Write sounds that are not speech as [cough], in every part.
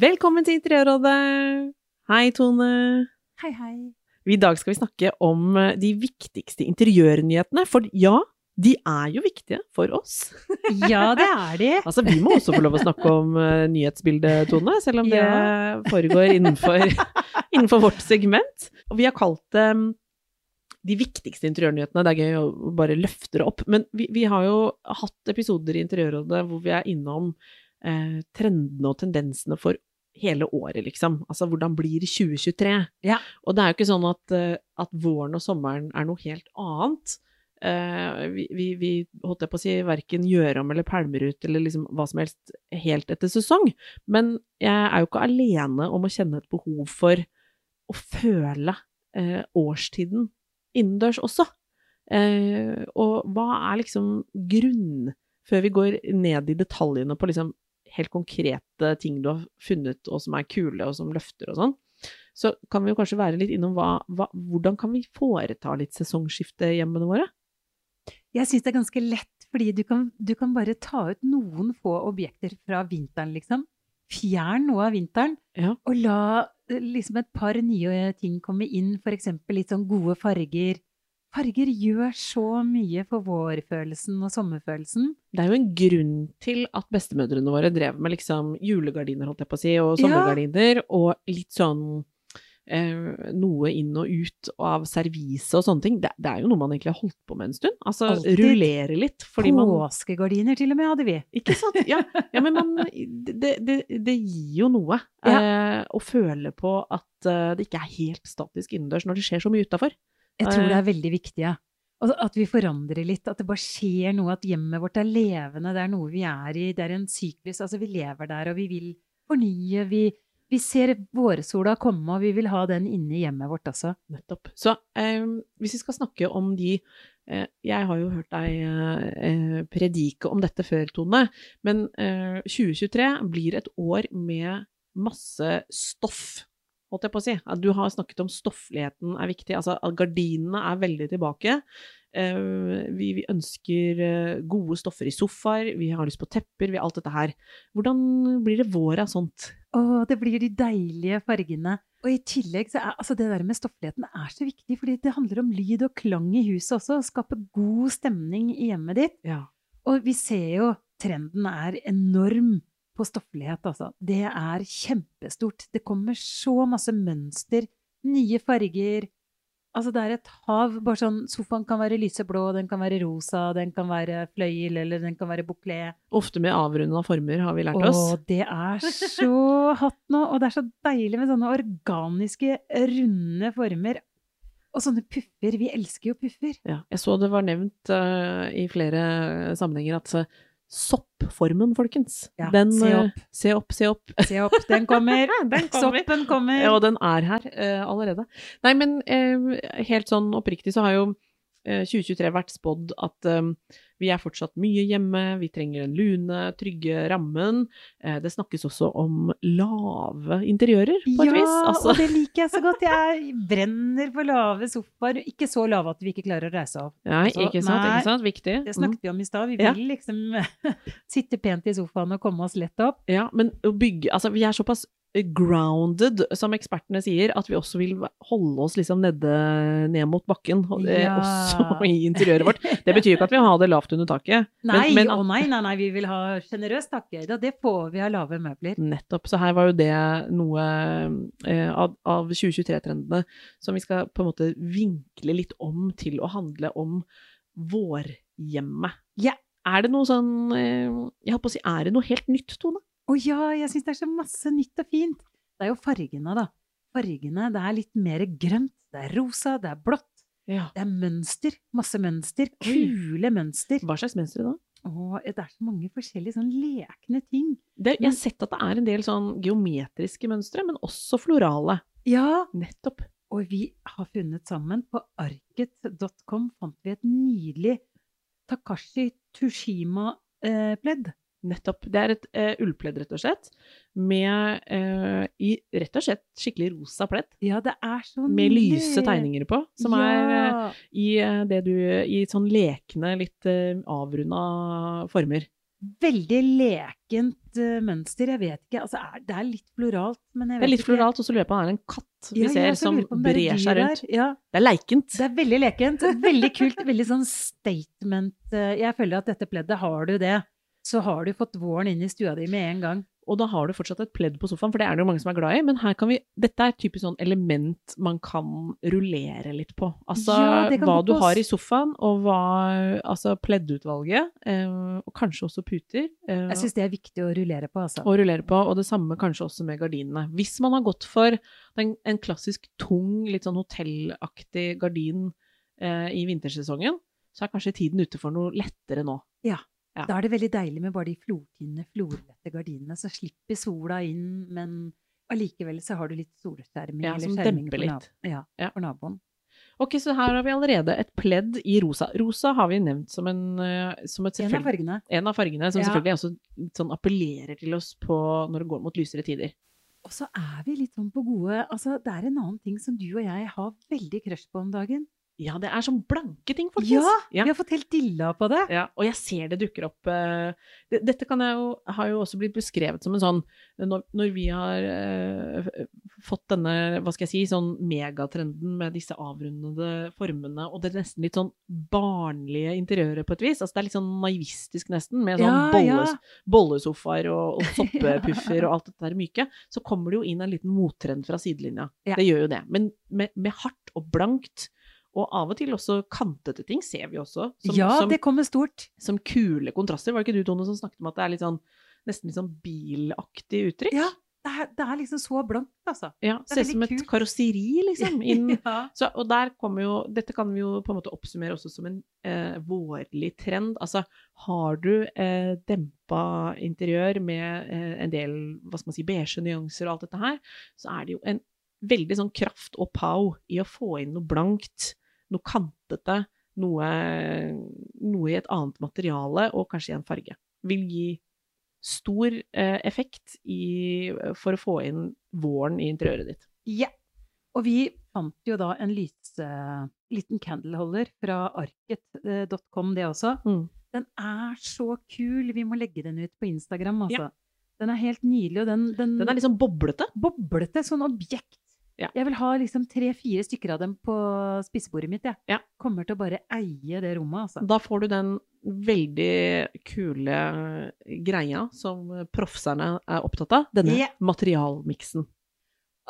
Velkommen til Interiørrådet! Hei, Tone. Hei, hei. I dag skal vi snakke om eh, de viktigste interiørnyhetene. For ja, de er jo viktige for oss. Ja, det er de. Altså, vi må også få lov å snakke om eh, nyhetsbildet, Tone, selv om det Ja. [laughs] foregår innenfor, innenfor vårt segment. Og vi har kalt det mm, de viktigste interiørnyhetene. Det er gøy å bare løfte det opp. Men vi, vi har jo hatt episoder i Interiørrådet hvor vi er innom eh, trendene og tendensene for hele året, liksom. Altså hvordan blir 2023? Ja. Og det er jo ikke sånn at, eh, at våren og sommeren er noe helt annet. Eh, vi, vi, vi holdt jeg på å si verken gjør om eller pælmer ut eller liksom hva som helst helt etter sesong. Men jeg er jo ikke alene om å kjenne et behov for å føle eh, årstiden innendørs også. Eh, og hva er liksom grunn Før vi går ned i detaljene på liksom helt konkrete ting du har funnet, og som er kule, og som løfter og sånn, så kan vi jo kanskje være litt innom hva, hva, hvordan kan vi foreta litt sesongskifte i hjemmene våre? [laughs] Jeg syns det er ganske lett, fordi du kan, du kan bare ta ut noen få objekter fra vinteren, liksom. Fjern noe av vinteren, Ja. og la eh, liksom et par nye ting komme inn, f.eks. litt sånn gode farger. Farger gjør så mye for vårfølelsen og sommerfølelsen. Det er jo en grunn til at bestemødrene våre drev med liksom julegardiner, holdt jeg på å si, og Ja. sommergardiner, og litt sånn eh, noe inn og ut av servise og sånne ting. Det, det er jo noe man egentlig har holdt på med en stund. Altså Alltid. rullere litt, fordi man Påskegardiner til og med hadde vi. Ikke sant? Ja, ja men man, det, det, det gir jo noe eh, å føle på at eh, det ikke er helt statisk innendørs når det skjer så mye utafor. Jeg tror det Eh. er veldig viktig, ja. Og at vi forandrer litt, at det bare skjer noe, at hjemmet vårt er levende, det er noe vi er i, det er en syklus. Altså, vi lever der, og vi vil fornye, vi, vi ser vårsola komme, og vi vil ha den inne i hjemmet vårt også. Nettopp. Så eh, hvis vi skal snakke om de eh, Jeg har jo hørt deg eh, eh, predike om dette før, Tone, men eh, 2023 blir et år med masse stoff, holdt jeg på å si. At Du har snakket om stoffligheten er viktig, altså at gardinene er veldig tilbake. Eh, vi, vi ønsker eh, gode stoffer i sofaer, vi har lyst på tepper, vi har alt dette her. Hvordan blir det vår av sånt? Å, det blir de deilige fargene. Og i tillegg så er altså det der med stoffligheten er så viktig, fordi det handler om lyd og klang i huset også, å skape god stemning i hjemmet ditt. Ja. Og vi ser jo trenden er enorm på stofflighet, altså. Det er kjempestort. Det kommer så masse mønster, nye farger. Altså, det er et hav. Bare sånn sofaen kan være lyseblå, den kan være rosa, den kan være fløyel, eller den kan være bouclé. Ofte med avrunda former, har vi lært oss. Å, det [laughs] er så hatt nå, og det er så deilig med sånne organiske, runde former. Og sånne puffer. Vi elsker jo puffer. Ja, jeg så det var nevnt eh, i flere sammenhenger at eh, soppformen, folkens, Ja, den se eh, opp. se opp, se [laughs] opp. Se opp, den kommer. [laughs] Den Soppen kommer. Ja, og den er her eh, allerede. Nei, men eh, helt sånn oppriktig så har jo eh, 2023 vært spådd at eh, vi er fortsatt mye hjemme, vi trenger den lune, trygge rammen. Eh, det snakkes også om lave interiører, på et ja, vis. Altså, og [laughs] det liker jeg så godt. Jeg brenner for lave sofaer. Ikke så lave at vi ikke klarer å reise opp. nei, altså, ikke sant, nei, ikke sant, viktig. Det Mm. snakket vi om i stad. Vi Ja. vil liksom [laughs] sitte pent i sofaen og komme oss lett opp. Ja, men å bygge Altså, vi er såpass grounded, som ekspertene sier, at vi også vil holde oss liksom nede ned mot bakken, og det, Ja. også i interiøret vårt. Det betyr jo ikke at vi har det lavt under taket. Nei, men- å nei, nei, nei, vi vil ha sjenerøst takhøyde, og det får vi av lave møbler. Nettopp. Så her var jo det noe eh, av, av 2023-trendene som vi skal på en måte vinkle litt om til å handle om vårhjemmet. Ja. Er det noe sånn eh, Jeg holdt på å si, er det noe helt nytt, Tone? Å ja, jeg syns det er så masse nytt og fint. Det er jo fargene, da. Fargene, det er litt mer grønt. det er rosa, det er blått. Ja. Det er mønster. Masse mønster. Kule mønster. Hva slags mønstre da? Og det er så mange forskjellige sånn lekne ting. Det, Mm. jeg har sett at det er en del sånn geometriske mønstre, men også florale. Ja, Nettopp. og vi har funnet sammen. På arket.com fant vi et nydelig Takashi Tushima-pledd. Nettopp. Det er et eh, ullpledd, rett og slett, med eh, i rett og slett skikkelig rosa pledd. ja, det er så Med nydelig. lyse tegninger på, som er eh, ja. i, eh, det du, i sånn lekne, litt eh, avrunda former. Veldig lekent eh, mønster. Jeg vet ikke. Altså, er, det er litt floralt, men jeg Det vet er litt ikke. floralt, og så lurer jeg på om det er en katt vi Ja, ser jeg også som lurer på om det er brer seg dyr rundt. der. Ja, Det er leikent. det er veldig lekent. Veldig kult. Veldig sånn statement. Eh, Jeg føler at dette pleddet, har du det, så har du fått våren inn i stua di med en gang. Og da har du fortsatt et pledd på sofaen, for det er det jo mange som er glad i. Men her kan vi, dette er et typisk sånn element man kan rullere litt på. Altså Ja, det kan hva gå du på har s- i sofaen, og hva Altså pleddutvalget, eh, og kanskje også puter. Eh, Jeg syns det er viktig å rullere på, altså. å rullere på, og det samme kanskje også med gardinene. Hvis man har gått for den, en klassisk tung, litt sånn hotellaktig gardin eh, i vintersesongen, så er kanskje tiden ute for noe lettere nå. Ja. Da er det veldig deilig med bare de flortynne, florlette gardinene, så slipper sola inn, men allikevel så har du litt solskjerming Ja, eller som skjerming demper for, nab litt. ja, Ja. for naboen. Ok, så her har vi allerede et pledd i rosa. Rosa har vi nevnt som, en, eh, som et En av selvfølgelig fargene. en av fargene som Ja. selvfølgelig også sånn appellerer til oss på når det går mot lysere tider. Og så er vi litt sånn på gode Altså, det er en annen ting som du og jeg har veldig crush på om dagen. Ja, det er sånn blanke ting, Ja, folkens. Vi har fått helt dilla på det. Ja, og jeg ser det dukker opp eh, det- Dette kan jeg jo, har jo også blitt beskrevet som en sånn Når, når vi har eh, f- fått denne, hva skal jeg si, sånn megatrenden med disse avrundede formene, og det er nesten litt sånn barnlige interiøret på et vis. Altså det er litt sånn naivistisk nesten, med sånn Ja, bolle, ja. bollesofaer [laughs] og, og soppepuffer og alt dette der myke. Så kommer det jo inn en liten mottrend fra sidelinja. Ja. Det gjør jo det. Men med, med hardt og blankt. Og av og til også kantete ting ser vi også. som- ja, som- det kommer stort. som kule kontraster. Var det ikke du, Tone, som snakket om at det er litt sånn, nesten litt sånn bilaktig uttrykk? Ja, det er, det er liksom så blankt, altså. ja det Ser er ut som veldig et kult. karosseri, liksom. Inn. [laughs] Ja. Så, og der kommer jo Dette kan vi jo på en måte oppsummere også som en eh, vårlig trend. Altså, har du eh, dempa interiør med eh, en del hva skal man si, beige nyanser og alt dette her, så er det jo en veldig sånn kraft og pow i å få inn noe blankt, noe kantete, noe, noe i et annet materiale, og kanskje i en farge. Vil gi stor eh, effekt i, for å få inn våren i interiøret ditt. Ja. Og vi fant jo da en lyse, liten candleholder fra arket.com, det også. Mm. Den er så kul! Vi må legge den ut på Instagram, altså. Den er helt nydelig, og den, den, Den er litt sånn boblete. boblete, sånn objekt. Ja. Jeg vil ha liksom tre-fire stykker av dem på spisebordet mitt, jeg. Ja. Kommer til å bare eie det rommet, altså. Da får du den veldig kule greia som proffserne er opptatt av. Denne Ja. materialmiksen.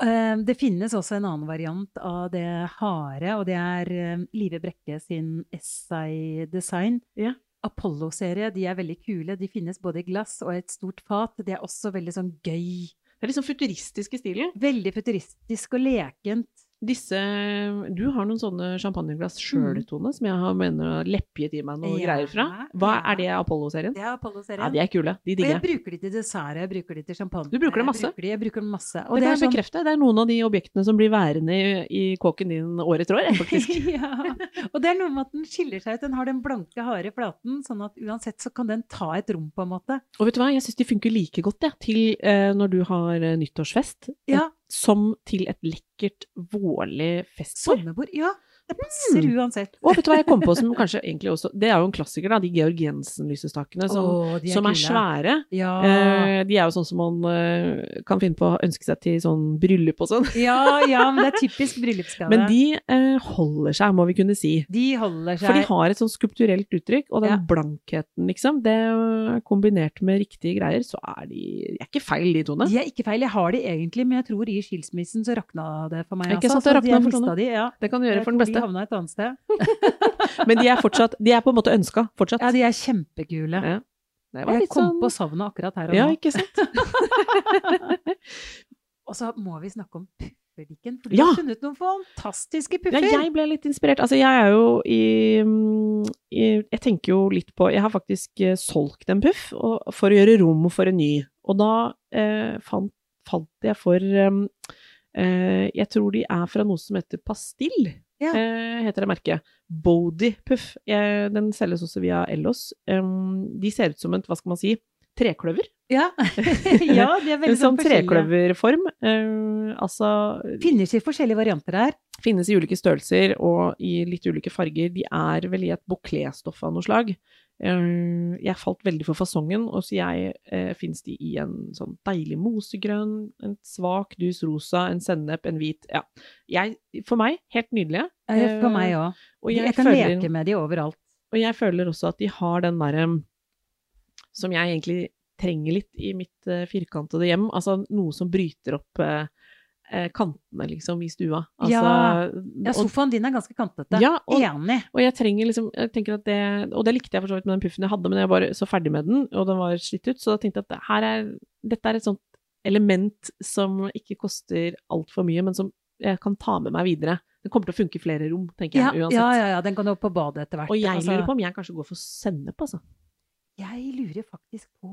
Eh, Det finnes også en annen variant av det harde, og det er eh, Live Brekke sin Essay Design. Ja. Apollo-serie, de er veldig kule. De finnes både i glass og et stort fat. Det er også veldig sånn gøy. Det er liksom futuristisk i stilen. Veldig futuristisk og lekent. Disse, du har noen sånne champagneglass sjøl, Mm. Tone, som jeg har mener har leppjet i meg noe Ja, greier fra. Hva ja. er det Apollo-serien? Det er Apollo-serien. Ja, de er kule. De og jeg digger jeg. bruker de til dessert, jeg bruker de til champagne. Du bruker dem masse? Jeg bruker de, jeg bruker dem masse. Det, kan jeg bekrefte. Det er noen av de objektene som blir værende i, i kåken din år [laughs] etter år, jeg, faktisk. [laughs] ja. Og det er noe med at den skiller seg ut. Den har den blanke, harde flaten, sånn at uansett så kan den ta et rom, på en måte. Og vet du hva, jeg syns de funker like godt jeg, til eh, når du har eh, nyttårsfest, eh, Ja. som til et lekkert, vårlig festbord. Sommerbord. Ja, det passer Mm. uansett. Og vet du hva jeg kom på som kanskje egentlig også Det er jo en klassiker, da. De Georg Jensen-lysestakene som, Å, de som er kule. svære. Ja. Eh, de er jo sånn som man eh, kan finne på å ønske seg til sånn bryllup og sånn. ja, ja, men det er [laughs] typisk bryllupsgave. Men de eh, holder seg, må vi kunne si. De holder seg For de har et sånn skulpturelt uttrykk, og den Ja. blankheten, liksom, det eh, kombinert med riktige greier, så er de De er ikke feil, de, Tone. De er ikke feil. Jeg har de egentlig, men jeg tror i skilsmissen så rakna det for meg. Ikke altså. sant, det Så rakna jeg for Tone. mista De, ja. Det kan du Jeg gjøre for den tror De beste. havna et annet sted. Men de er fortsatt De er på en måte ønska, fortsatt. Ja, de er kjempekule. Ja. Det var Jeg litt kom sånn- på savnet akkurat her og Ja, nå. [laughs] ikke sant? Og så må vi snakke om puffedikken. For du Ja. har funnet noen fantastiske Ja, puffer. jeg ble litt inspirert. Altså, jeg er jo i, mm, i Jeg tenker jo litt på Jeg har faktisk eh, solgt en puff og, for å gjøre rom for en ny. Og da eh, fant, falt jeg for eh, eh, Jeg tror de er fra noe som heter Pastill, Ja. eh, heter det merket. Body Puff. Eh, den selges også via Ellos. Em, de ser ut som et, hva skal man si, trekløver. Ja. [laughs] ja, de er veldig Sånn sånn forskjellige. trekløverform. Eh, altså Finnes i forskjellige varianter her. finnes i ulike størrelser og i litt ulike farger. De er vel i et bouclé-stoff av noe slag. Eh, Jeg falt veldig for fasongen, og så jeg eh, finnes de i en sånn deilig mosegrønn, en svak dus rosa, en sennep, en hvit. Ja. Jeg, for meg, helt nydelige. Eh, For Eh, meg òg. Og Jeg kan leke med de overalt. og jeg føler også at de har den derre mm, Som jeg egentlig trenger litt i mitt eh, firkantede hjem. Altså noe som bryter opp eh, eh, kantene, liksom, i stua. Altså, Ja. Ja, og- sofaen din er ganske kantete. ja, og, Enig. og jeg trenger liksom jeg tenker at det, Og det likte jeg for så vidt med den puffen jeg hadde, men jeg var så ferdig med den, og den var slitt ut, så da tenkte jeg at det her er, dette er et sånt element som ikke koster altfor mye, men som jeg kan ta med meg videre. Den kommer til å funke i flere rom, tenker Ja, jeg, ja, uansett. ja, ja, den kan du opp på badet etter hvert. Og jeg Altså, lurer på om jeg kanskje går for sennep, altså. Jeg lurer faktisk på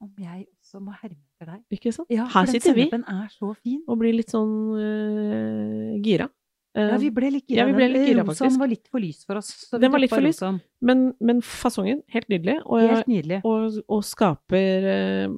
om jeg også må herme etter deg. Ikke sant? Ja, Her for den sitter vi sennepen er så fin. og blir litt sånn øh, gira. Ja, Eh, vi ble litt gira. Ja, vi ble Den litt gira, rosaen faktisk. var litt for lys for oss. så vi Den var litt droppa for lys. rosaen. men, men fasongen, helt nydelig. Og, Helt nydelig. og, og skaper eh,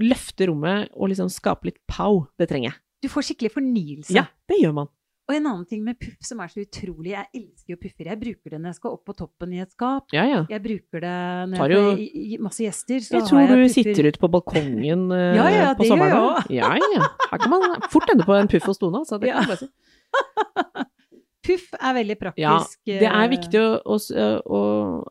Løfter rommet og liksom skaper litt pow. Det trenger jeg. Du får skikkelig fornyelse. Ja, det gjør man. Og en annen ting med puff som er så utrolig Jeg elsker jo puffer. Jeg bruker det når jeg skal opp på toppen i et skap. Ja, ja. Jeg bruker det når Tar jeg jo- får i- i- masse gjester. Så Jeg tror har du jeg puffer. sitter ute på [laughs] balkongen eh, Ja, ja, på det gjør sommeren. jeg også. Ja, ja. Her kan man fort ende på en puff hos Dona. Så det, kan jeg Ja. bare si. Puff er veldig praktisk. Ja, det eh, er viktig å, å, å,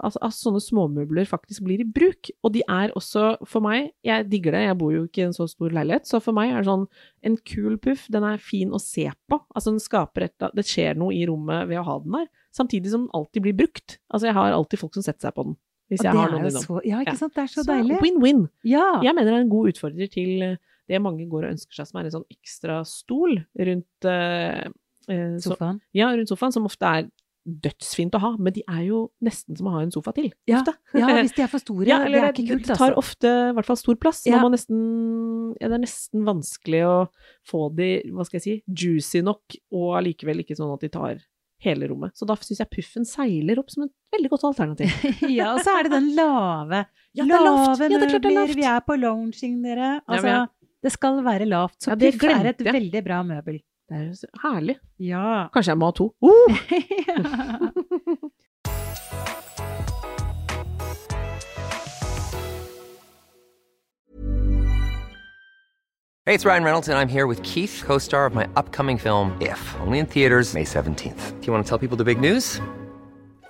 altså, at sånne småmøbler faktisk blir i bruk. Og de er også, for meg, jeg digger det, jeg bor jo ikke i en så stor leilighet, så for meg er det sånn en kul puff, den er fin å se på. Altså den skaper et, det skjer noe i rommet ved å ha den der, samtidig som den alltid blir brukt. Altså jeg har alltid folk som setter seg på den, og hvis det jeg har er noen jo innom. så, ja, Ja. ikke sant? Det er så, Så deilig. win-win. Ja. Jeg mener det er en god utfordrer til eh, det mange går og ønsker seg, som er en sånn ekstra stol rundt eh, eh, så- Sofaen. ja, rundt sofaen, som ofte er dødsfint å ha, men de er jo nesten som å ha en sofa til. Ja, ofte. [laughs] ja, [laughs] hvis de er for store. Ja, det eller er ikke kult, tar altså. ofte i hvert fall stor plass. Ja. Man må nesten, ja, det er nesten vanskelig å få de, hva skal jeg si, juicy nok, og allikevel ikke sånn at de tar hele rommet. Så da syns jeg puffen seiler opp som et veldig godt alternativ. [laughs] ja, og så er det den lave. Ja, det er lavt. Lave Ja, det er klart det er møbler. lavt. Vi er på lounging, dere. Ja, Altså, vi er- det skal være lavt. Så Ja, det puff er et glemte jeg. veldig bra møbel. Det er jo så herlig. [laughs] Ja. Kanskje jeg må ha to. Uh! Hey, it's Ryan Reynolds, and I'm here with Keith, co star of my upcoming film, If, only in theaters, May 17th. Do you want to tell people the big news?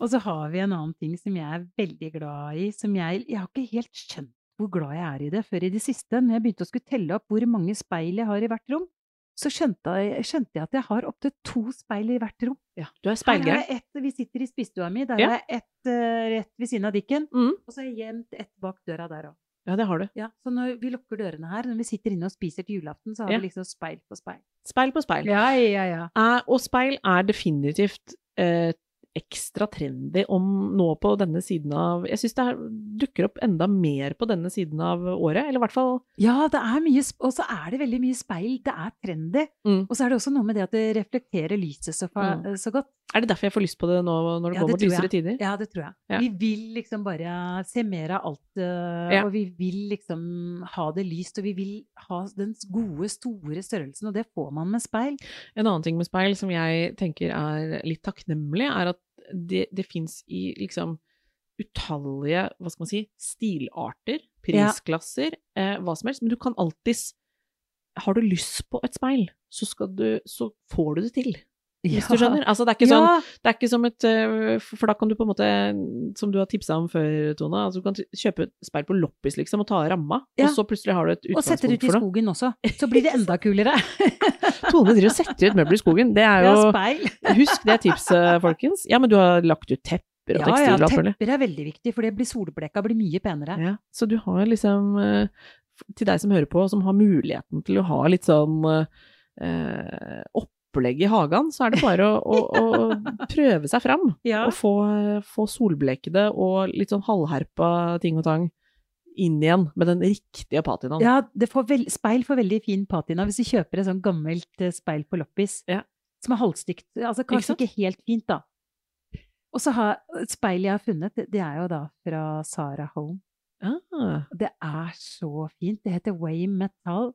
Og så har vi en annen ting som jeg er veldig glad i, som jeg Jeg har ikke helt skjønt hvor glad jeg er i det før i det siste. Når jeg begynte å skulle telle opp hvor mange speil jeg har i hvert rom, så skjønte jeg, skjønte jeg at jeg har opptil to speil i hvert rom. Ja, du er Her har speilgæren. jeg ett, vi sitter i spisestua mi, der Ja. har jeg ett eh, rett ved siden av dikken, Mm. og så har jeg gjemt ett bak døra der òg. Ja, det har du. Ja, så når vi lukker dørene her, når vi sitter inne og spiser til julaften, så har Ja. vi liksom speil på speil. Speil på speil. Ja, ja, ja. er, og speil er definitivt eh, ekstra trendy om nå på denne siden av Jeg syns det er, dukker opp enda mer på denne siden av året, eller i hvert fall Ja, det er mye, sp- og så er det veldig mye speil. Det er trendy. Mm. Og så er det også noe med det at det reflekterer lyset så, fa- Mm. så godt. Er det derfor jeg får lyst på det nå når det Ja, går det mot tror lysere tider? Ja, det tror jeg. Ja. Vi vil liksom bare se mer av alt, øh, Ja. og vi vil liksom ha det lyst, og vi vil ha den gode, store størrelsen, og det får man med speil. En annen ting med speil som jeg tenker er litt takknemlig, er at det, det fins i liksom utallige, hva skal man si, stilarter, prisklasser, eh, hva som helst, men du kan alltids Har du lyst på et speil, så, skal du, så får du det til, Ja. hvis du skjønner. Altså, det, er ikke sånn, Ja, det er ikke som et øh, For da kan du på en måte, som du har tipsa om før, Tone, altså, du kan t- kjøpe et speil på loppis, liksom, og ta av ramma, Ja. og så plutselig har du et og setter ut utgangspunkt i for noe. skogen også. Så blir det enda [laughs] kulere. Tone driver og setter ut møbler i skogen. Det er Ja, jo speil. [laughs] Husk det tipset, folkens. Ja, men du har lagt ut tepper og Ja, ja, tekstiler og alt mulig. tepper er veldig viktig, for det blir solblekka blir mye penere. Ja, så du har liksom eh, f- Til deg som hører på, som har muligheten til å ha litt sånn eh, opplegg i hagen, så er det bare å, å, å prøve seg fram. Ja. Og få, få solblekede og litt sånn halvherpa ting og tang inn igjen med den riktige patinaen. Ja, det får vel, speil får veldig fin patina hvis du kjøper et sånn gammelt eh, speil på loppis. Ja. Som er halvstykt. Altså Ikke kanskje sant? ikke, helt fint, da. Og så har et speil jeg har funnet, det- det er jo da fra Sara Home. Ah, Det er så fint. Det heter Wame Metal.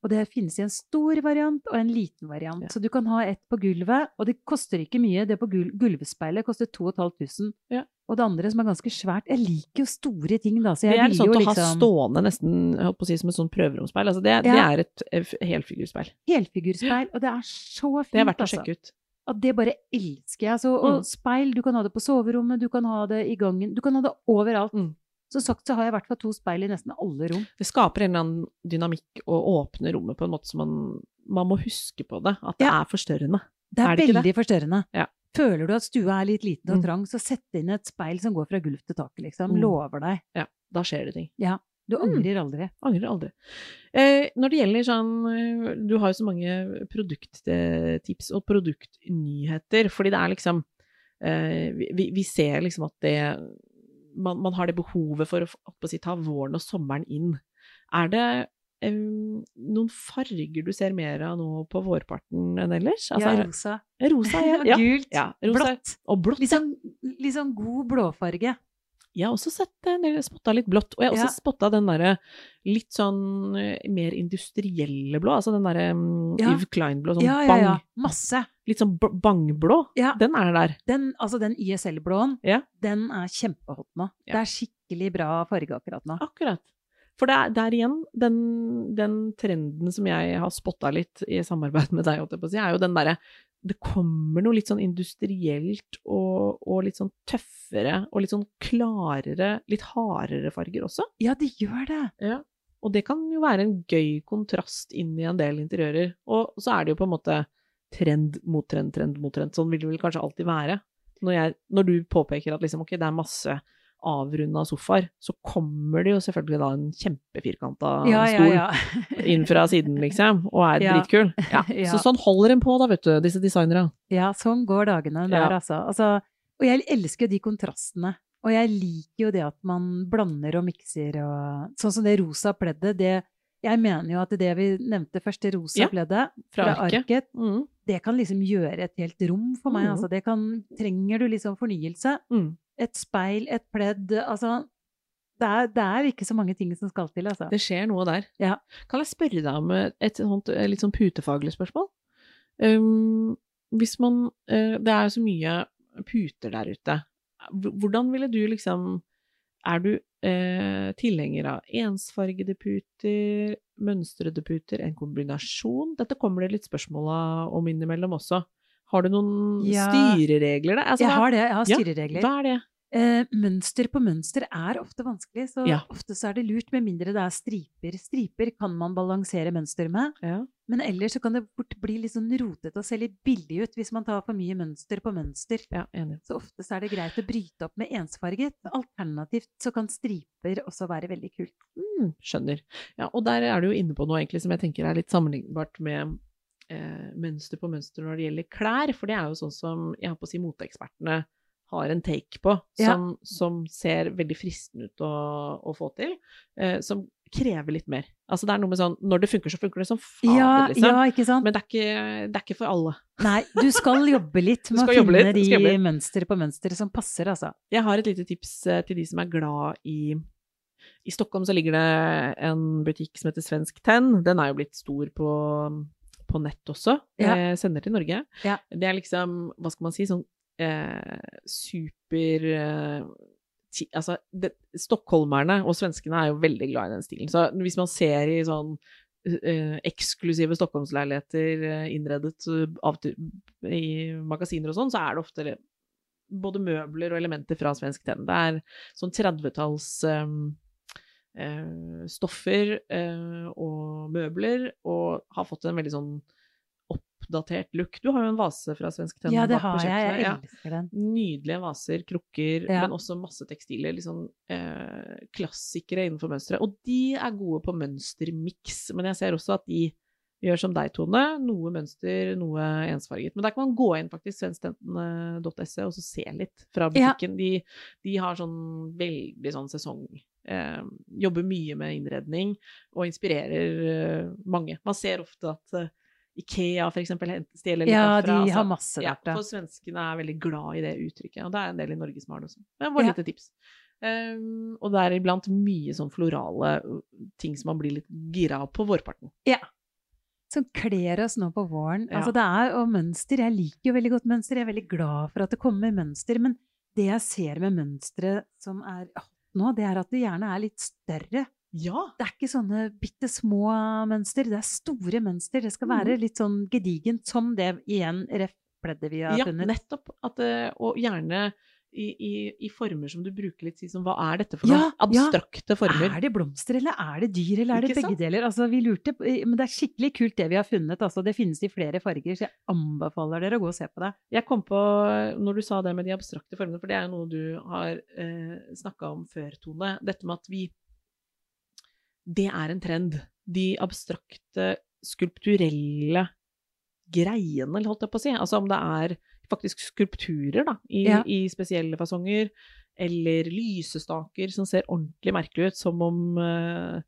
Og det finnes i en stor variant og en liten variant. Ja. Så du kan ha et på gulvet, og det koster ikke mye. Det på gul gulvspeilet koster 2500. Ja. Og det andre som er ganske svært Jeg liker jo store ting, da. Så det jeg er vil sånn jo å ha liksom stående nesten jeg holdt på å si, som et sånn prøveromsspeil. Altså det, det Ja. er et eh, f- helfigurspeil. Helfigurspeil, og det er så fint, Det er verdt å altså. sjekke ut. Ja, det bare elsker jeg. Så, og Mm. speil, du kan ha det på soverommet, du kan ha det i gangen, du kan ha det overalt. Mm. Som sagt så har jeg i hvert fall to speil i nesten alle rom. Det skaper en eller annen dynamikk å åpne rommet på en måte som man Man må huske på det, at det Ja. er forstørrende. Det er, Er det ikke veldig forstørrende. Ja. Føler du at stua er litt liten og Mm. trang, så sett inn et speil som går fra gulv til tak, liksom. Mm. Lover deg. Da skjer det ting. Du Mm. angrer aldri. Angrer aldri. Eh, når det gjelder sånn eh, Du har jo så mange produkttips og produktnyheter, fordi det er liksom eh, vi- vi, vi ser liksom at det man, man har det behovet for å f- holdt på å si, ta våren og sommeren inn. Er det eh, noen farger du ser mer av nå på vårparten enn ellers? ja, Altså, rosa. er- rosa, [laughs] ja. ja. Gult. ja rosa, Blått. Og blått. Litt sånn, litt sånn god blåfarge. Jeg har også sett en del, spotta litt blått. Og jeg har også Ja. spotta den derre litt sånn eh, mer industrielle blå, altså den derre mm, Ja. Yves Klein-blå, sånn ja, ja, ja. bang. Masse. Litt sånn b- bangblå. Ja. Den er der. Den, altså den YSL-blåen, Ja. den er kjempehot nå. Ja. Det er skikkelig bra farge akkurat nå. Akkurat. For det er der igjen, den, den trenden som jeg har spotta litt i samarbeid med deg, holdt jeg på å si, er jo den derre Det kommer noe litt sånn industrielt og, og litt sånn tøffere og litt sånn klarere, litt hardere farger også. Ja, det gjør det. Og det kan jo være en gøy kontrast inn i en del interiører. Og så er det jo på en måte trend mot trend, trend mot trend. Sånn vil det vel kanskje alltid være. Når, jeg, når du påpeker at liksom, ok, det er masse avrunda sofaer, så kommer det jo selvfølgelig da en kjempefirkanta Ja, ja, stol ja. [laughs] inn fra siden, liksom, og er [laughs] Ja. dritkul. Ja. Ja. Så sånn holder en på, da, vet du, disse designere. Ja, sånn går dagene der, Ja. altså. altså. Og jeg elsker jo de kontrastene. Og jeg liker jo det at man blander og mikser og Sånn som det rosa pleddet, det Jeg mener jo at det vi nevnte først, det rosa Ja, pleddet Fra, fra arket. arket, Mm, det kan liksom gjøre et helt rom for meg. Mhm. Altså, det kan Trenger du liksom fornyelse? mm. Et speil, et pledd Altså det er, det er ikke så mange ting som skal til, altså. Det skjer noe der. Ja. Kan jeg spørre deg om et, et, sånt, eh, litt sånn putefaglig spørsmål? Um, hvis man eh, Det er så mye puter der ute. H- Hvordan ville du liksom Er du eh, tilhenger av ensfargede puter, mønstrede puter, en kombinasjon? Dette kommer det litt spørsmål av om innimellom også. Har du noen Ja. styreregler der? Altså, jeg hva- har det, jeg har Ja, styreregler. Hva er det? Eh, mønster på mønster er ofte vanskelig, så Ja. ofte så er det lurt, med mindre det er striper. Striper kan man balansere mønster med, Ja. men ellers så kan det fort bli litt sånn rotete og se litt billig ut hvis man tar for mye mønster på mønster. ja, enig. Så ofte så er det greit å bryte opp med ensfarget. Alternativt så kan striper også være veldig kult. Mm, skjønner. Ja, og der er du jo inne på noe egentlig som jeg tenker er litt sammenlignbart med eh, mønster på mønster når det gjelder klær, for det er jo sånn som jeg har på å si moteekspertene har en take på, Ja. som, som ser veldig fristende ut å, å få til, eh, som krever litt mer. Altså det er noe med sånn, når det funker, så funker det som fader, Ja, liksom. ja, ikke sant? Men det er ikke, det er ikke for alle. Nei, du skal jobbe [laughs] litt Du med å skal jobbe finne litt, du skal jobbe de litt. mønster på mønster som passer, altså. Jeg har et lite tips eh, til de som er glad i I Stockholm så ligger det en butikk som heter Svensk Tenn. Den er jo blitt stor på, på nett også. Ja. Eh, sender til Norge. Ja. Det er liksom, hva skal man si, sånn eh, super eh, ti, Altså, det, stockholmerne og svenskene er jo veldig glad i den stilen. Så hvis man ser i sånn eh, eksklusive Stockholmsleiligheter eh, innredet eh, av, i magasiner og sånn, så er det ofte både møbler og elementer fra Svensk Tenn. Det er sånn 30-talls eh, eh, stoffer eh, og møbler, og har fått en veldig sånn oppdatert look. Du har jo en vase fra Svensk Tenn Ja, det bak på har jeg. kjøkkenet, Jeg ja. elsker den. Nydelige vaser, krukker, Ja. men også masse tekstiler. Liksom, eh, klassikere innenfor mønsteret. Og de er gode på mønstermiks, men jeg ser også at de gjør som deg, Tone. Noe mønster, noe ensfarget. Men der kan man gå inn faktisk, eh, svenskstenten.se, E, og så se litt fra Ja. butikken. De, de har sånn veldig sånn sesong. Eh, jobber mye med innredning og inspirerer eh, mange. Man ser ofte at eh, Ikea for eksempel hent- stjeler litt Ja, derfra. de altså. har masse Ja, derfra. for svenskene er veldig glad i det uttrykket, og det er en del i Norge som har det også. Det var et Ja. lite tips. Um, og det er iblant mye sånn florale uh, ting som man blir litt gira av på vårparten. Som kler oss nå på våren. Ja. Altså det er, og mønster, jeg liker jo veldig godt mønster, jeg er veldig glad for at det kommer mønster, men det jeg ser med mønstre som er hot nå, det er at det gjerne er litt større. Ja! Det er ikke sånne bitte små mønster, det er store mønster. Det skal Mhm. være litt sånn gedigent, som det igjen ref pleddet vi har Ja, funnet. nettopp. At, eh, og gjerne i, i, i former som du bruker litt, si som hva er dette for noe? Ja, ja. Abstrakte former. Er det blomster, eller er det dyr, eller er det Ikke sant? begge deler? Altså, vi lurte, på- men det er skikkelig kult det vi har funnet. Altså, det finnes i flere farger, så jeg anbefaler dere å gå og se på det. Jeg kom på, når du sa det med de abstrakte formene, for det er noe du har eh, snakka om før, Tone, dette med at vi Det er en trend. De abstrakte, skulpturelle greiene, holdt jeg på å si. Altså om det er faktisk skulpturer, da, i, Ja. i spesielle fasonger, eller lysestaker som ser ordentlig merkelig ut, som om eh,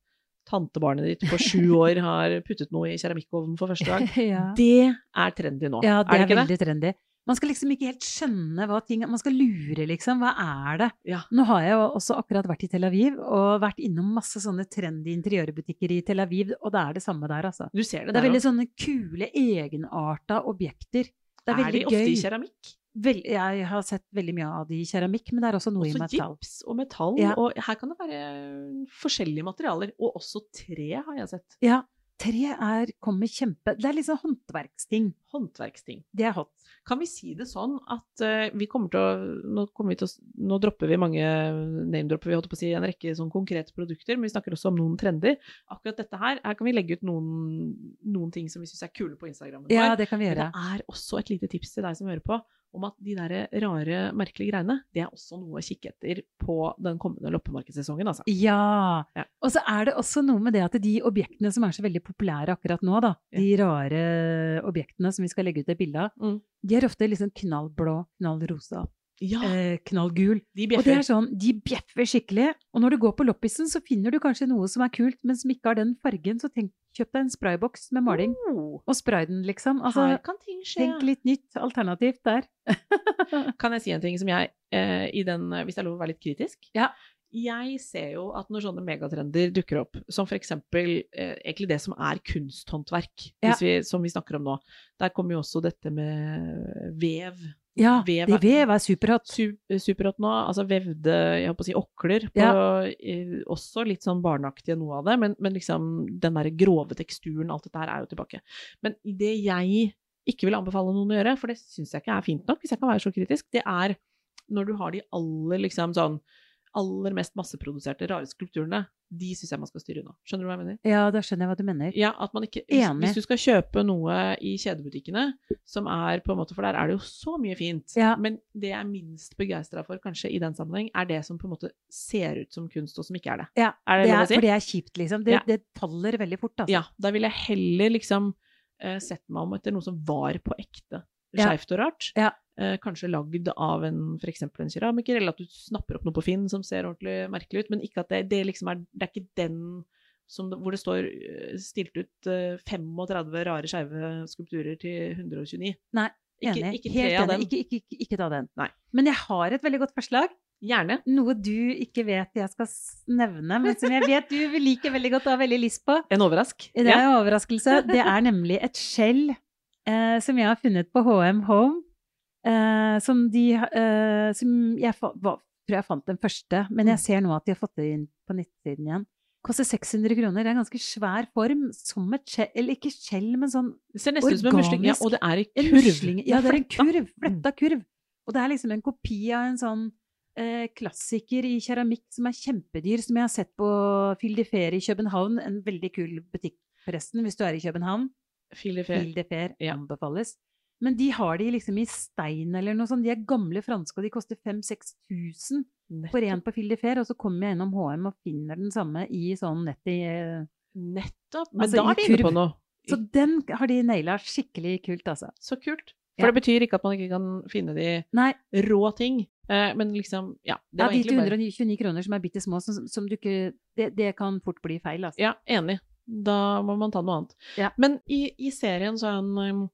tantebarnet ditt på sju [laughs] år har puttet noe i keramikkovnen for første gang. ja. Det er trendy nå, ja, det er er, det ikke det? veldig trendy. Man skal liksom ikke helt skjønne hva ting Man skal lure, liksom. Hva er det? Ja. Nå har jeg jo også akkurat vært i Tel Aviv, og vært innom masse sånne trendy interiørbutikker i Tel Aviv, og det er det samme der, altså. Du ser det, Det er der veldig sånne kule, egenarta objekter. Det er, Er, veldig de ofte gøy. i keramikk? Vel- jeg har sett veldig mye av de i keramikk, men det er også noe i Også metall. gips og metall. Ja. Og her kan det være eh, forskjellige materialer. Og også tre, har jeg sett. Ja, tre er, kommer kjempe... Det er litt sånn håndverksting. Håndverksting. Det er hot. Kan vi si det sånn at eh, vi kommer til å Nå, kommer vi til å, s- nå dropper vi mange eh, name-dropper, vi holdt på å si en rekke sånn konkrete produkter, men vi snakker også om noen trender. Akkurat dette her, her kan vi legge ut noen, noen ting som vi syns er kule på Instagrammen vår. Ja, det kan vi Men gjøre. det er også et lite tips til deg som hører på, om at de der rare, merkelige greiene, det er også noe å kikke etter på den kommende loppemarkedssesongen, altså. Ja. Ja. Og så er det også noe med det at de objektene som er så veldig populære akkurat nå, da, de rare objektene som vi skal legge ut et bilde av, Mm. de er ofte liksom knallblå, knallrosa, Ja, eh, knallgul. de Ah. Og det bjeffer. er sånn, de bjeffer skikkelig. Og når du går på loppisen, så finner du kanskje noe som er kult, men som ikke har den fargen, så tenk, kjøp deg en sprayboks med maling, Oh, og spray den, liksom. her Altså, kan ting skje. tenk litt nytt, alternativt der. [laughs] Kan jeg si en ting som jeg, eh, i den, hvis det er lov å være litt kritisk? Ja. Jeg ser jo at når sånne megatrender dukker opp, som for eksempel eh, egentlig det som er kunsthåndverk, Ja. hvis vi, som vi snakker om nå, der kommer jo også dette med vev, Ja, Vev de er- vev er superhot. su- superhot nå, altså vevde jeg holdt på å si, okler, på, eh, også litt sånn barneaktige noe av det, men, men liksom den der grove teksturen, alt dette her er jo tilbake. Men det jeg ikke vil anbefale noen å gjøre, for det syns jeg ikke er fint nok, hvis jeg kan være så kritisk, det er når du har de aller liksom sånn aller mest masseproduserte, rare skulpturene, de syns jeg man skal styre unna. Skjønner du hva jeg mener? Ja, da skjønner jeg hva du mener. Ja, at man ikke, hvis, Enig. hvis du skal kjøpe noe i kjedebutikkene, som er på en måte, for der er det jo så mye fint, Ja. men det jeg er minst begeistra for kanskje i den sammenheng, er det som på en måte ser ut som kunst, og som ikke er det. Ja, Er det, det lov er, å si? for det er kjipt, liksom. Det, Ja. det faller veldig fort, altså. Ja, da ville jeg heller liksom eh, sett meg om etter noe som var på ekte. Ja. Skeivt og rart. Ja. Eh, kanskje lagd av en, for eksempel en keramiker, eller at du snapper opp noe på Finn som ser ordentlig merkelig ut, men ikke at det, det liksom er Det er ikke den som, hvor det står eh, stilt ut eh, 35 rare skeive skulpturer til 129. Nei, Ikke, Enig. ikke Helt tre av enig. dem. Ikke, ikke, ikke, ikke ta den. Nei. Men jeg har et veldig godt forslag. Gjerne. Noe du ikke vet jeg skal s- nevne, men som jeg vet du liker veldig godt og har veldig lyst på. En overrask. Det er en overraskelse. Det er nemlig et skjell eh, som jeg har funnet på HM Home. Eh, som de eh, Mm. Som jeg fa var, tror jeg fant den første, men jeg ser nå at de har fått det inn på nettsiden igjen. Koster 600 kroner. Det er en ganske svær form. Som et skjell Eller ikke skjell, men sånn Det ser nesten ut som en musling, ja, Organisk. og det er i en kurv. musling- Ja, det er en fletta. kurv. Mm. Fletta kurv. Og det er liksom en kopi av en sånn eh, klassiker i keramikk som er kjempedyr, som jeg har sett på Fildefer i København. En veldig kul butikk, forresten, hvis du er i København. Filifé. Fildefer Ja. anbefales. Men de har de liksom i stein eller noe sånt. De er gamle franske, og de koster 5000-6000 for en på Fildefer. Og så kommer jeg innom HM og finner den samme i sånn nett i eh, Nettopp. Men Altså, da i er de inne kurv. på noe. Så den har de naila skikkelig kult, altså. Så kult. Ja. For det betyr ikke at man ikke kan finne de Nei, rå ting. Eh, men liksom, ja. Det ja, var de egentlig til bare 129 kroner som er bitte små, som, som du ikke det, det kan fort bli feil, altså. Ja, enig. Da må man ta noe annet. Ja. Men i, i serien så er han um,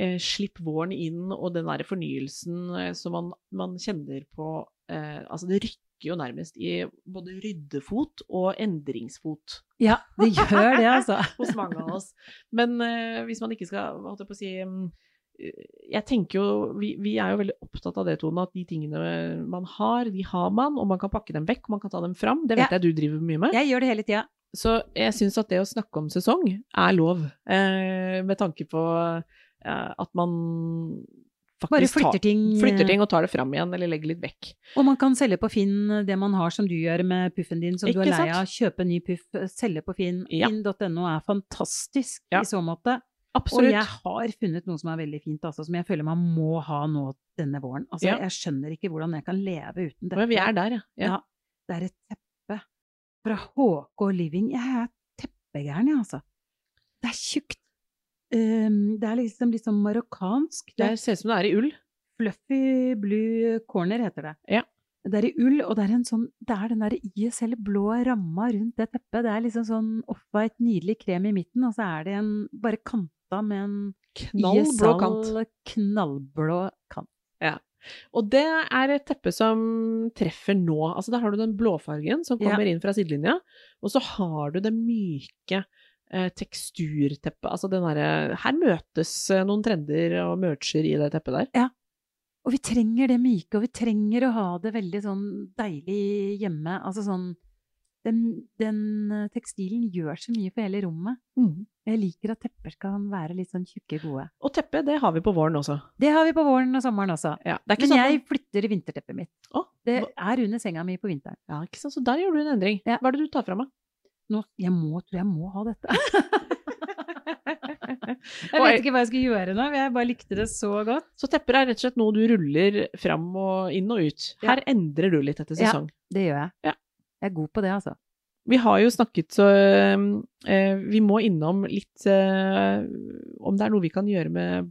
eh, Slipp våren inn, og den derre fornyelsen eh, som man, man kjenner på eh, Altså, det rykker jo nærmest i både ryddefot og endringsfot Ja, det gjør det, [laughs] altså. hos mange av oss. Men eh, hvis man ikke skal hva holdt jeg på å si mm, eh, jeg tenker jo, vi, vi er jo veldig opptatt av det, Tone, at de tingene man har, de har man, og man kan pakke dem vekk, man kan ta dem fram. Det vet Ja. jeg du driver mye med. Jeg gjør det hele tida. Så jeg syns at det å snakke om sesong er lov, eh, med tanke på eh, at man Bare faktisk flytter tar, ting. eh. flytter ting og tar det fram igjen, eller legger litt vekk. Og man kan selge på Finn det man har som du gjør med puffen din som du Ikke er lei sant? av. Kjøpe ny puff, eh, selge på Finn. Ja. Finn.no er fantastisk Ja. i så måte. Og jeg Absolutt. har funnet noe som er veldig fint, altså, som jeg føler man må ha nå denne våren. Altså, Ja. Jeg skjønner ikke hvordan jeg kan leve uten dette. Men vi er der, ja. ja. Ja. Det er et teppe fra HK Living. Jeg er teppegæren, jeg, altså. Det er tjukt. Ehm, det er liksom litt sånn marokkansk. Det Det er ser ut som det er i ull. Fluffy Blue Corner heter det. Ja. Det er i ull, og det er, en sånn, det er den der ISL blå ramma rundt det teppet. Det er liksom sånn offwhite, nydelig krem i midten, og så er det en bare kanta med en Knall blå kant. ISL knallblå kant. Og det er et teppe som treffer nå. Altså der har du den blåfargen som Ja. kommer inn fra sidelinja, og så har du det myke eh, teksturteppet. Altså den derre Her møtes eh, noen trender og merger i det teppet der. Og vi trenger det myke, og vi trenger å ha det veldig sånn deilig hjemme. Altså sånn Den, den eh, tekstilen gjør så mye for hele rommet. Jeg liker at tepper skal være litt sånn tjukke, gode. Og teppet, det har vi på våren også. Det har vi på våren og sommeren også. Ja, det er ikke Men sånn jeg flytter vinterteppet mitt. Å, Det hva- er under senga mi på vinteren. ja, ikke sant? Så der gjør du en endring. Ja. Hva er det du tar fra meg? Nå, jeg må, tror jeg må ha [laughs] dette. Jeg vet ikke hva jeg skal gjøre nå, men jeg bare likte det så godt. Så tepper er rett og slett noe du ruller fram og inn og ut. Ja. Her endrer du litt etter Ja. sesong. Det gjør jeg. Ja. Jeg er god på det, altså. Vi har jo snakket, så øhm, eh, vi må innom litt eh, om det er noe vi kan gjøre med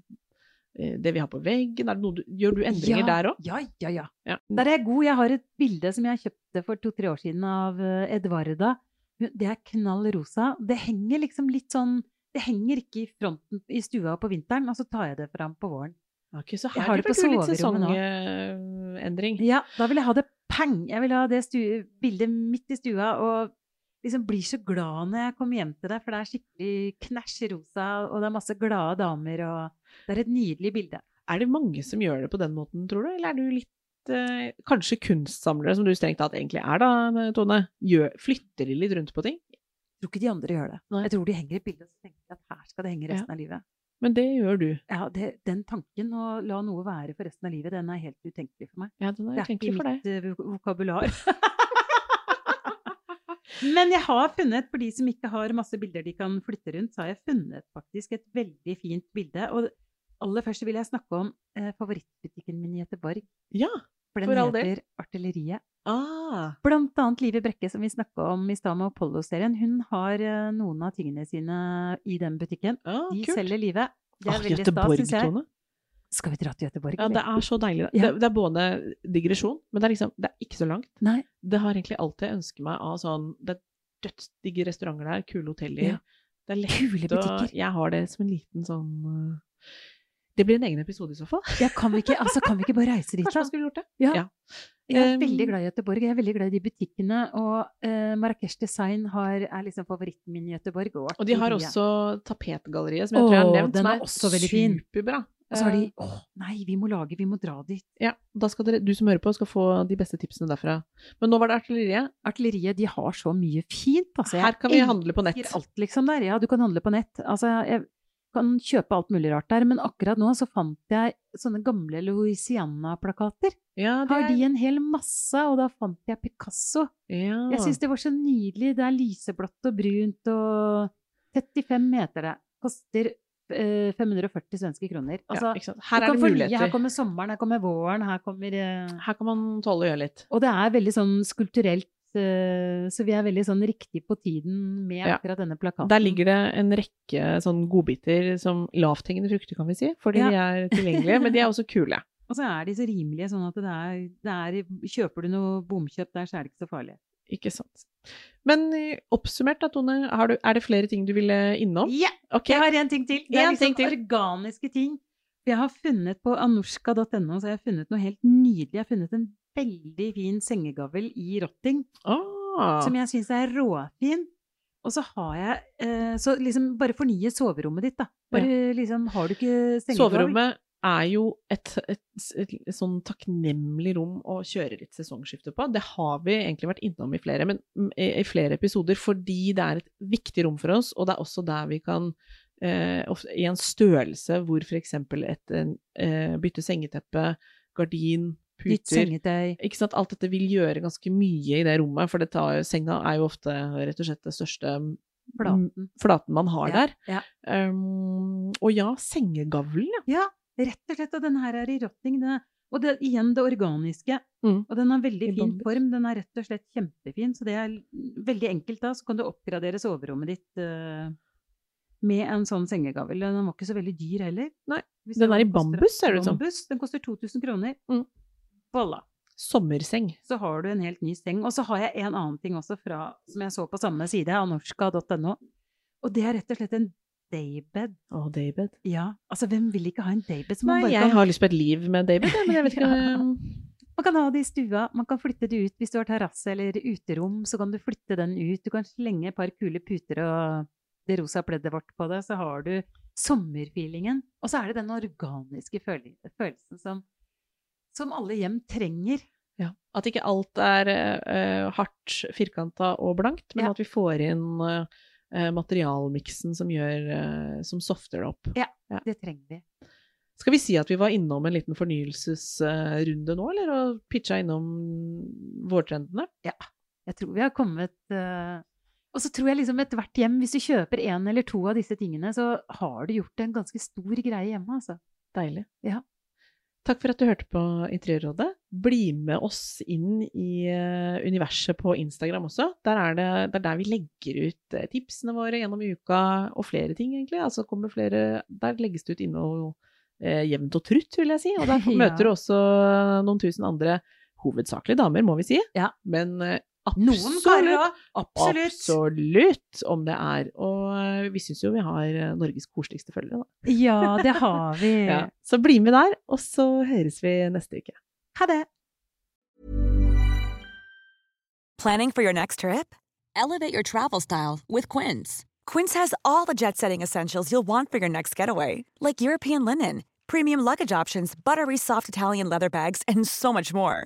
eh, det vi har på veggen. Er det noe du, gjør du endringer ja, der òg? Ja, ja, ja. Ja. Der er jeg god. Jeg har et bilde som jeg kjøpte for to-tre år siden av eh, Edvarda. Hun- Det er knall rosa. Det henger liksom litt sånn Det henger ikke i fronten i stua på vinteren, og så tar jeg det fram på våren. Ok, så her Jeg har det blir på det litt soverommet nå. sesongendring. Ja, da vil jeg ha det pang! Jeg vil ha det stu bildet midt i stua og liksom blir så glad når jeg kommer hjem til deg, for det er skikkelig knæsj rosa, og det er masse glade damer, og det er et nydelig bilde. Er det mange som gjør det på den måten, tror du? Eller er du litt eh, Kanskje kunstsamlere, som du strengt tatt egentlig er da, Tone, gjør, flytter de litt rundt på ting? Jeg tror ikke de andre gjør det. Nei. Jeg tror de henger et bilde og så tenker de at her skal det henge resten av livet. Men det gjør du. Ja, det, den tanken å la noe være for resten av livet, den er helt utenkelig for meg. Ja, den Det er er ikke utenkelig for deg. mitt eh, vok- vokabular. [laughs] Men jeg har funnet, for de som ikke har masse bilder de kan flytte rundt, så har jeg funnet faktisk et veldig fint bilde. Og aller først så vil jeg snakke om eh, favorittbutikken min i Göteborg. Ja. For den for all del. heter Artilleriet. Ah. Blant annet Live Brekke, som vi snakka om i stad med Apollo-serien. Hun har eh, noen av tingene sine i den butikken. ah De kult. selger Live. Det er Ah, veldig stas, Göteborg, syns jeg. Tone. Skal vi dra til Göteborg? Ja, eller? det er så deilig. Ja. Det, det er både digresjon, men det er liksom Det er ikke så langt. Nei. Det har egentlig alt jeg ønsker meg av sånn Det er dødsdigge restauranter der, kule hoteller. Ja. Det er lett Kule å butikker. Jeg har det som en liten sånn øh, Det blir en egen episode i så fall. [laughs] Ja, kan, vi ikke, altså, kan vi ikke bare reise dit? Kanskje da? man skulle gjort det. Ja. Ja. Jeg er Um, veldig glad i Göteborg. Jeg er veldig glad i de butikkene. Og eh, Marrakech Design har, er liksom favoritten min i Göteborg. Og de har Artilleria. også Tapetgalleriet, som jeg tror jeg har Åh, nevnt, den som er også veldig fin. superbra. Eh, Og så har de åh, nei, vi må lage, vi må dra dit. Ja, da skal dere, du som hører på, skal få de beste tipsene derfra. Men nå var det artilleriet. Artilleriet, de har så mye fint, altså. Jeg Her kan vi handle på nett. elsker alt liksom der. Ja, du kan handle på nett. Altså, jeg kan kjøpe alt mulig rart der, men akkurat nå så fant jeg sånne gamle Louisiana-plakater. Ja, det Har er, de en hel masse, og da fant jeg Picasso. ja. Jeg syns det var så nydelig. Det er lyseblått og brunt og 35 meter det. Koster eh, 540 svenske kroner. Altså, ja, ikke sant? Her du er kan det fornye. muligheter. Her kommer sommeren, her kommer våren, her kommer eh, Her kan man tåle å gjøre litt. Og det er veldig sånn skulpturelt, eh, så vi er veldig sånn riktig på tiden med Ja. akkurat denne plakaten. Der ligger det en rekke sånn godbiter som lavthengende frukter, kan vi si. Fordi Ja. de er tilgjengelige, men de er også kule. Og så er de så rimelige, sånn at det er, det er Kjøper du noe bomkjøp der, så er det ikke så farlig. Ikke sant. Men eh, oppsummert da, Tone, har du, er det flere ting du ville innom? Ja! Ok, Jeg har én ting til. Det er En liksom ting til. organiske ting. Jeg har funnet på anorska.no så jeg har funnet noe helt nydelig. Jeg har funnet en veldig fin sengegavl i rotting. Ah, som jeg syns er råfin. Og så har jeg eh, Så liksom bare fornye soverommet ditt, da. Bare liksom Har du ikke sengetøy? soverommet er jo et, et, et, et sånn takknemlig rom å kjøre litt sesongskifte på. Det har vi egentlig vært innom i flere, men, mm, i, i flere episoder fordi det er et viktig rom for oss, og det er også der vi kan eh, ofte, I en størrelse hvor f.eks. et en, eh, bytte sengeteppe, gardin, Nytt puter sengetøy. ikke sant, alt dette vil gjøre ganske mye i det rommet, for det tar, senga er jo ofte rett og slett det største Platen. flaten man har der. ja. Um, og ja, sengegavlen, ja. Rett og slett. Og den her er i rotting. Den er, og det, igjen det organiske. Mm. Og den har veldig I fin bambu. form. Den er rett og slett kjempefin. Så det er veldig enkelt, da. Så kan du oppgradere soverommet ditt eh, med en sånn sengegavl. Og Den var ikke så veldig dyr heller. Nei, Hvis den det er i koster- bambus, ser det ut som. Bambus. Den koster 2000 kroner. Mm. Voila. Sommerseng. så har du en helt ny seng. Og så har jeg en annen ting også fra, som jeg så på samme side, anorska.no. Og det er rett og slett en daybed. Å, daybed. Ja, altså hvem vil ikke ha en daybed? som Nei, man bare jeg kan, har lyst på et liv med daybed, jeg, men jeg [laughs] vet ikke Ja. um, Man kan ha det i stua, man kan flytte det ut hvis du har terrasse eller uterom, så kan du flytte den ut. Du kan slenge et par kule puter og det rosa pleddet vårt på det, så har du sommerfeelingen. Og så er det den organiske føle- følelsen som, som alle hjem trenger. ja. At ikke alt er eh, hardt, firkanta og blankt, men Ja. at vi får inn eh, eh, materialmiksen som, gjør, eh, som softer det opp. Det trenger vi. Skal vi si at vi var innom en liten fornyelsesrunde nå, eller? Og pitcha innom vårtrendene? Jeg tror vi har kommet eh, Og så tror jeg liksom ethvert hjem, hvis du kjøper en eller to av disse tingene, så har du gjort en ganske stor greie hjemme, altså. Deilig. Ja. Takk for at du hørte på Interiørrådet. Bli med oss inn i eh, universet på Instagram også. Der er det, det er der vi legger ut eh, tipsene våre gjennom uka, og flere ting, egentlig. Altså kommer flere Der legges det ut innhold eh, jevnt og trutt, vil jeg si. Og der [laughs] Ja. møter du også noen tusen andre, hovedsakelig damer, må vi si. Ja. Men eh, Noen karer absolutt òg! Absolutt! Absolutt, om det er. Og eh, vi syns jo vi har eh, Norges koseligste følgere, da. Ja, det har vi. Ja. Så bli med der, og så høres vi neste uke. Ha det! Planning for your next trip? Elevate your travel style with Quince. Quince has all the jet setting essentials you'll want for your next getaway, like European linen, premium luggage options, buttery soft Italian leather bags, and so much more.